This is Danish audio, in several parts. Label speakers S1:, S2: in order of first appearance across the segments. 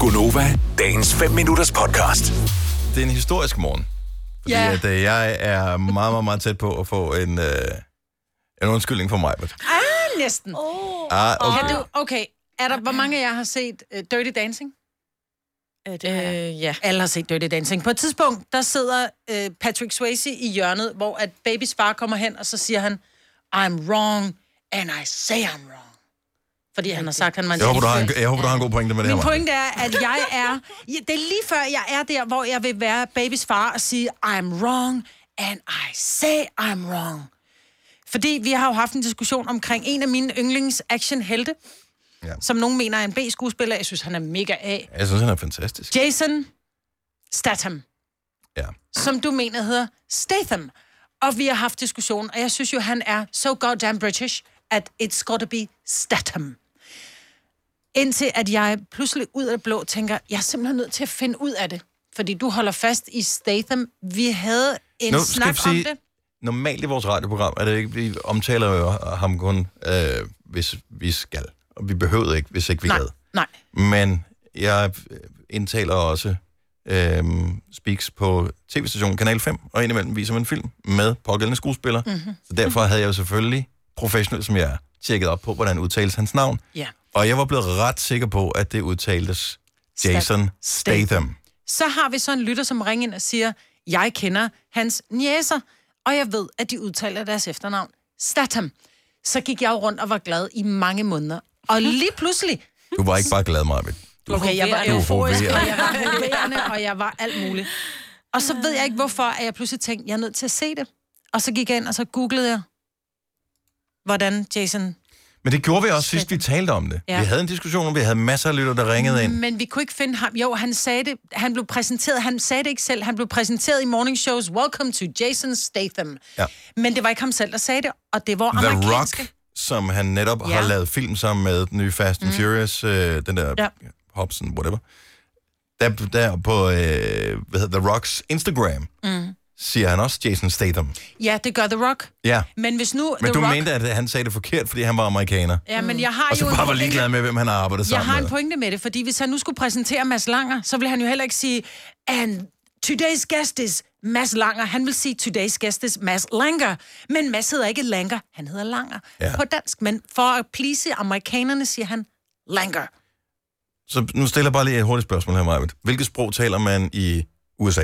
S1: Gunova, dagens 5 minutters podcast.
S2: det er en historisk morgen. Fordi
S3: Ja.
S2: ja. at, øh, jeg er meget, meget, meget tæt på at få en, øh, en undskyldning for mig.
S3: Ah, næsten. Oh.
S2: Ah, okay.
S3: Kan du, okay, er der, hvor mange af jer har set uh, Dirty Dancing?
S4: Øh, ja.
S3: Alle har set Dirty Dancing. På et tidspunkt, der sidder uh, Patrick Swayze i hjørnet, hvor at babys far kommer hen, og så siger han, I'm wrong, and I say I'm wrong. Fordi han har sagt, han var en
S2: Jeg håber, du har en,
S3: sindssyg.
S2: jeg håber, du har en god pointe med det her.
S3: Min
S2: Maja.
S3: pointe er, at jeg er... Ja, Det er lige før, jeg er der, hvor jeg vil være babys far og sige, I'm wrong, and I say I'm wrong. Fordi vi har jo haft en diskussion omkring en af mine yndlings actionhelte,
S2: Ja.
S3: ja. som nogen mener er en B-skuespiller. Jeg synes, han er mega A.
S2: Jeg synes, han er fantastisk.
S3: Jason Statham,
S2: Ja.
S3: som du mener hedder Statham. Og vi har haft diskussion, og jeg synes jo, han er so goddamn British, at it's got to be Statham. Indtil at jeg pludselig ud af det blå tænker, jeg er simpelthen nødt til at finde ud af det. Fordi du holder fast i Statham. Vi havde en
S2: Nu
S3: nu,
S2: skal
S3: snak
S2: vi
S3: om
S2: sige-
S3: det.
S2: Normalt i vores radioprogram er det ikke, vi omtaler jo ham kun, øh, hvis vi skal. Og vi behøvede ikke, hvis ikke vi
S3: Nej,
S2: havde.
S3: nej.
S2: Men jeg øh, indtaler også øh, speaks på tv-stationen Kanal 5, og indimellem viser man film med pågældende skuespillere. Mm-hmm.
S3: Mhm.
S2: Så derfor havde jeg jo selvfølgelig, professionelt som jeg er, tjekket op på, hvordan udtales hans navn.
S3: Ja.
S2: Og jeg var blevet ret sikker på, at det udtaltes Jason
S3: Statham.
S2: Statham.
S3: Så har vi så en lytter, som ringer ind og siger, jeg kender hans njæser, og jeg ved, at de udtaler deres efternavn. Statham. Så gik jeg jo rundt og var glad i mange måneder. Og lige pludselig,
S2: Du var ikke bare glad, Marvind. Du
S3: okay, jeg var
S2: Du er
S3: euforisk, og
S2: forvirret.
S3: jeg var hoverende, og jeg var alt muligt. Og
S2: Ah.
S3: så ved jeg ikke, hvorfor, at jeg pludselig tænkte, jeg er nødt til at se det. Og så gik jeg ind, og så googlede jeg, hvordan Jason...
S2: Men det gjorde vi også sidst, vi talte om det.
S3: Ja. Mm.
S2: Vi havde en diskussion, og vi havde masser af lytter, der ringede ind.
S3: Men vi kunne ikke finde ham. Jo, han sagde det. Han blev præsenteret. Han sagde det ikke selv. Han blev præsenteret i morning shows. Welcome to Jason Statham.
S2: Ja.
S3: Men det var ikke ham selv, der sagde det, og det var
S2: The
S3: amerikanske.
S2: Rock, som han netop ja.
S3: Ja.
S2: har lavet film sammen med, den nye Fast and mm. Furious, øh, den der ja.
S3: Ja.
S2: Hobson, whatever. Der, der på øh, hvad hedder The Rocks Instagram, mm. siger han også Jason Statham.
S3: Ja, det gør The Rock.
S2: Ja,
S3: Men hvis nu
S2: men
S3: The
S2: du
S3: Rock...
S2: mente, at han sagde det forkert, fordi han var amerikaner.
S3: Ja, men jeg har
S2: Og så
S3: jo... en
S2: bare var
S3: pointe-
S2: ligeglad med, hvem han har arbejdet
S3: Jeg
S2: sammen
S3: har en
S2: med.
S3: pointe med det, fordi hvis han nu skulle præsentere Mads Langer, så ville han jo heller ikke sige, and today's guest is Mads Langer. Han vil sige, today's guest is Mads Langer. Men Mads hedder ikke Langer, han hedder Langer
S2: Ja.
S3: ja. på dansk. Men for at please amerikanerne, siger han Langer.
S2: Så nu stiller jeg bare lige et hurtigt spørgsmål her, Marvind. Hvilket sprog taler man i USA?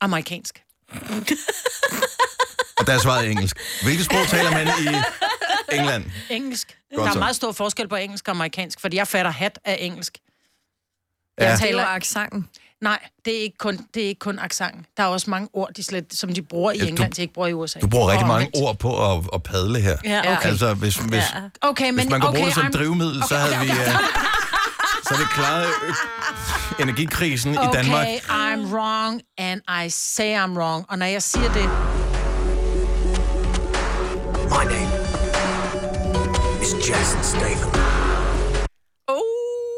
S3: Amerikansk.
S2: Og der er svaret engelsk. Hvilket sprog taler man i England?
S3: Engelsk.
S2: Godt
S3: der er
S2: så.
S3: meget stor forskel på engelsk og amerikansk, fordi jeg fatter hat af engelsk.
S2: Ja.
S3: Jeg
S4: Det
S3: taler
S4: var aksangen.
S3: Nej, det er ikke kun, det er ikke kun accenten. Der er også mange ord, de slet, som de bruger i
S2: Ja, du-
S3: England, de ikke bruger i USA.
S2: Du bruger rigtig
S3: Og
S2: mange
S3: omvendt.
S2: ord på at, at padle her.
S3: Ja, okay.
S2: Altså, hvis, hvis, ja.
S3: Okay, men
S2: Hvis man kunne
S3: okay,
S2: bruge det som
S3: I'm-
S2: drivmiddel, så havde vi... Uh, så havde vi klaret øh, energikrisen i Danmark.
S3: Okay, I'm wrong, and I say I'm wrong. Og når jeg siger det,
S1: My name is Jason Statham.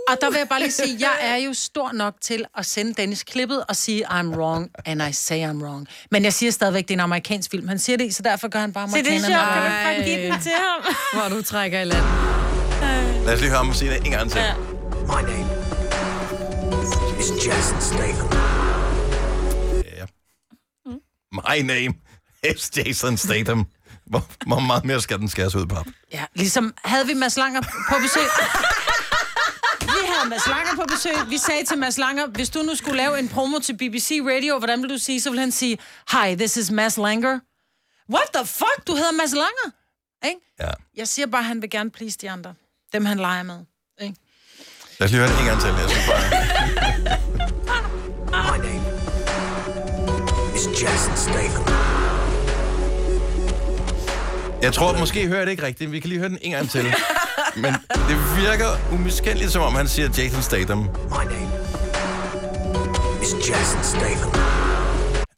S3: og der vil jeg bare lige sige, jeg er jo stor nok til at sende Dennis klippet og sige, I'm wrong, and I say I'm wrong. Men jeg siger stadigvæk, det er en amerikansk film. Han siger det, så derfor gør han bare
S5: Se, det er
S3: amerikanerne.
S5: sjovt. Kan du
S3: meget.
S5: ikke bare give den til ham?
S4: Hvor du trækker i land.
S2: Lad os lige høre ham sige det en gang til. Ja.
S1: My name is Jason Statham.
S2: My name is Jason Statham. Hvor, hvor meget mere skal den skæres ud, pap?
S3: Ja, ligesom havde vi Mads Langer på besøg. Vi havde Mads Langer på besøg. Vi sagde til Mads Langer, hvis du nu skulle lave en promo til BBC Radio, hvordan vil du sige? Så vil han sige, hi, this is Mads Langer. What the fuck? Du hedder Mads Langer. Ikke?
S2: Ja.
S3: Jeg siger bare, at han vil gerne please de andre. Dem, han leger med. Ikke?
S2: Lad os lige høre det en gang til. Jeg synes bare...
S1: My name is Jason Statham.
S2: Jeg tror, måske hører jeg det ikke rigtigt, men vi kan lige høre den en gang til. Men det virker umiskendeligt, som om han siger Jason Statham.
S1: My name is Jason Statham.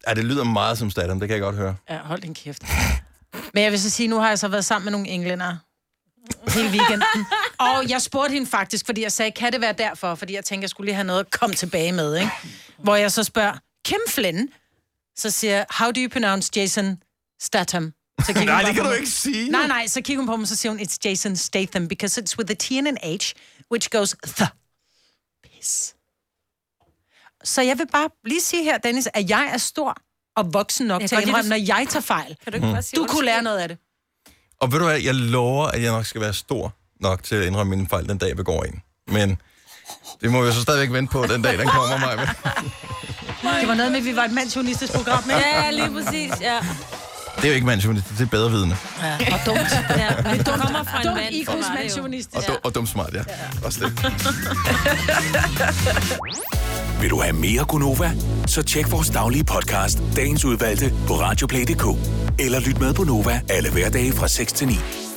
S2: Ja, det lyder meget som Statham, det kan jeg godt høre.
S3: Ja, hold din kæft. Men jeg vil så sige, nu har jeg så været sammen med nogle englænder hele weekenden. Og jeg spurgte hende faktisk, fordi jeg sagde, kan det være derfor? Fordi jeg tænkte, jeg skulle lige have noget at komme tilbage med, ikke? Hvor jeg så spørger, Kim Flynn, så siger jeg, how do you pronounce Jason Statham? Så kigger hun
S2: Nej,
S3: bare
S2: det kan
S3: på
S2: du
S3: mig.
S2: ikke sige.
S3: Nej, nej, så kigger hun på mig, så siger hun, it's Jason Statham, because it's with a T and an H, which goes th. Piss. Så jeg vil bare lige sige her, Dennis, at jeg er stor og voksen nok
S4: Jeg
S3: til
S4: kan
S3: at
S4: godt lide,
S3: indrømme, når jeg tager fejl.
S4: Kan du ikke bare sige
S3: Du kunne lære noget af det.
S2: Og ved du hvad, jeg lover, at jeg nok skal være stor nok til at indrømme mine fejl den dag, jeg begår en. Men det må jeg så stadigvæk vente på den dag, den kommer mig. Med.
S3: Det var noget med, at vi var et mandsjournalistisk program, ikke?
S4: Ja, ja, lige præcis, ja.
S2: Det er jo ikke mandsjournalist, det er bedre vidende.
S3: Og dumt.
S4: ja. Men du kommer fra en
S3: Dumt
S4: mand.
S3: IQ's mandsjournalistisk.
S2: Og, du, og dum smart, ja. Også det.
S1: Vil du have mere Gunova? Så tjek vores daglige podcast, dagens udvalgte, på radioplay.dk. Eller lyt med på Nova alle hverdage fra 6 til 9.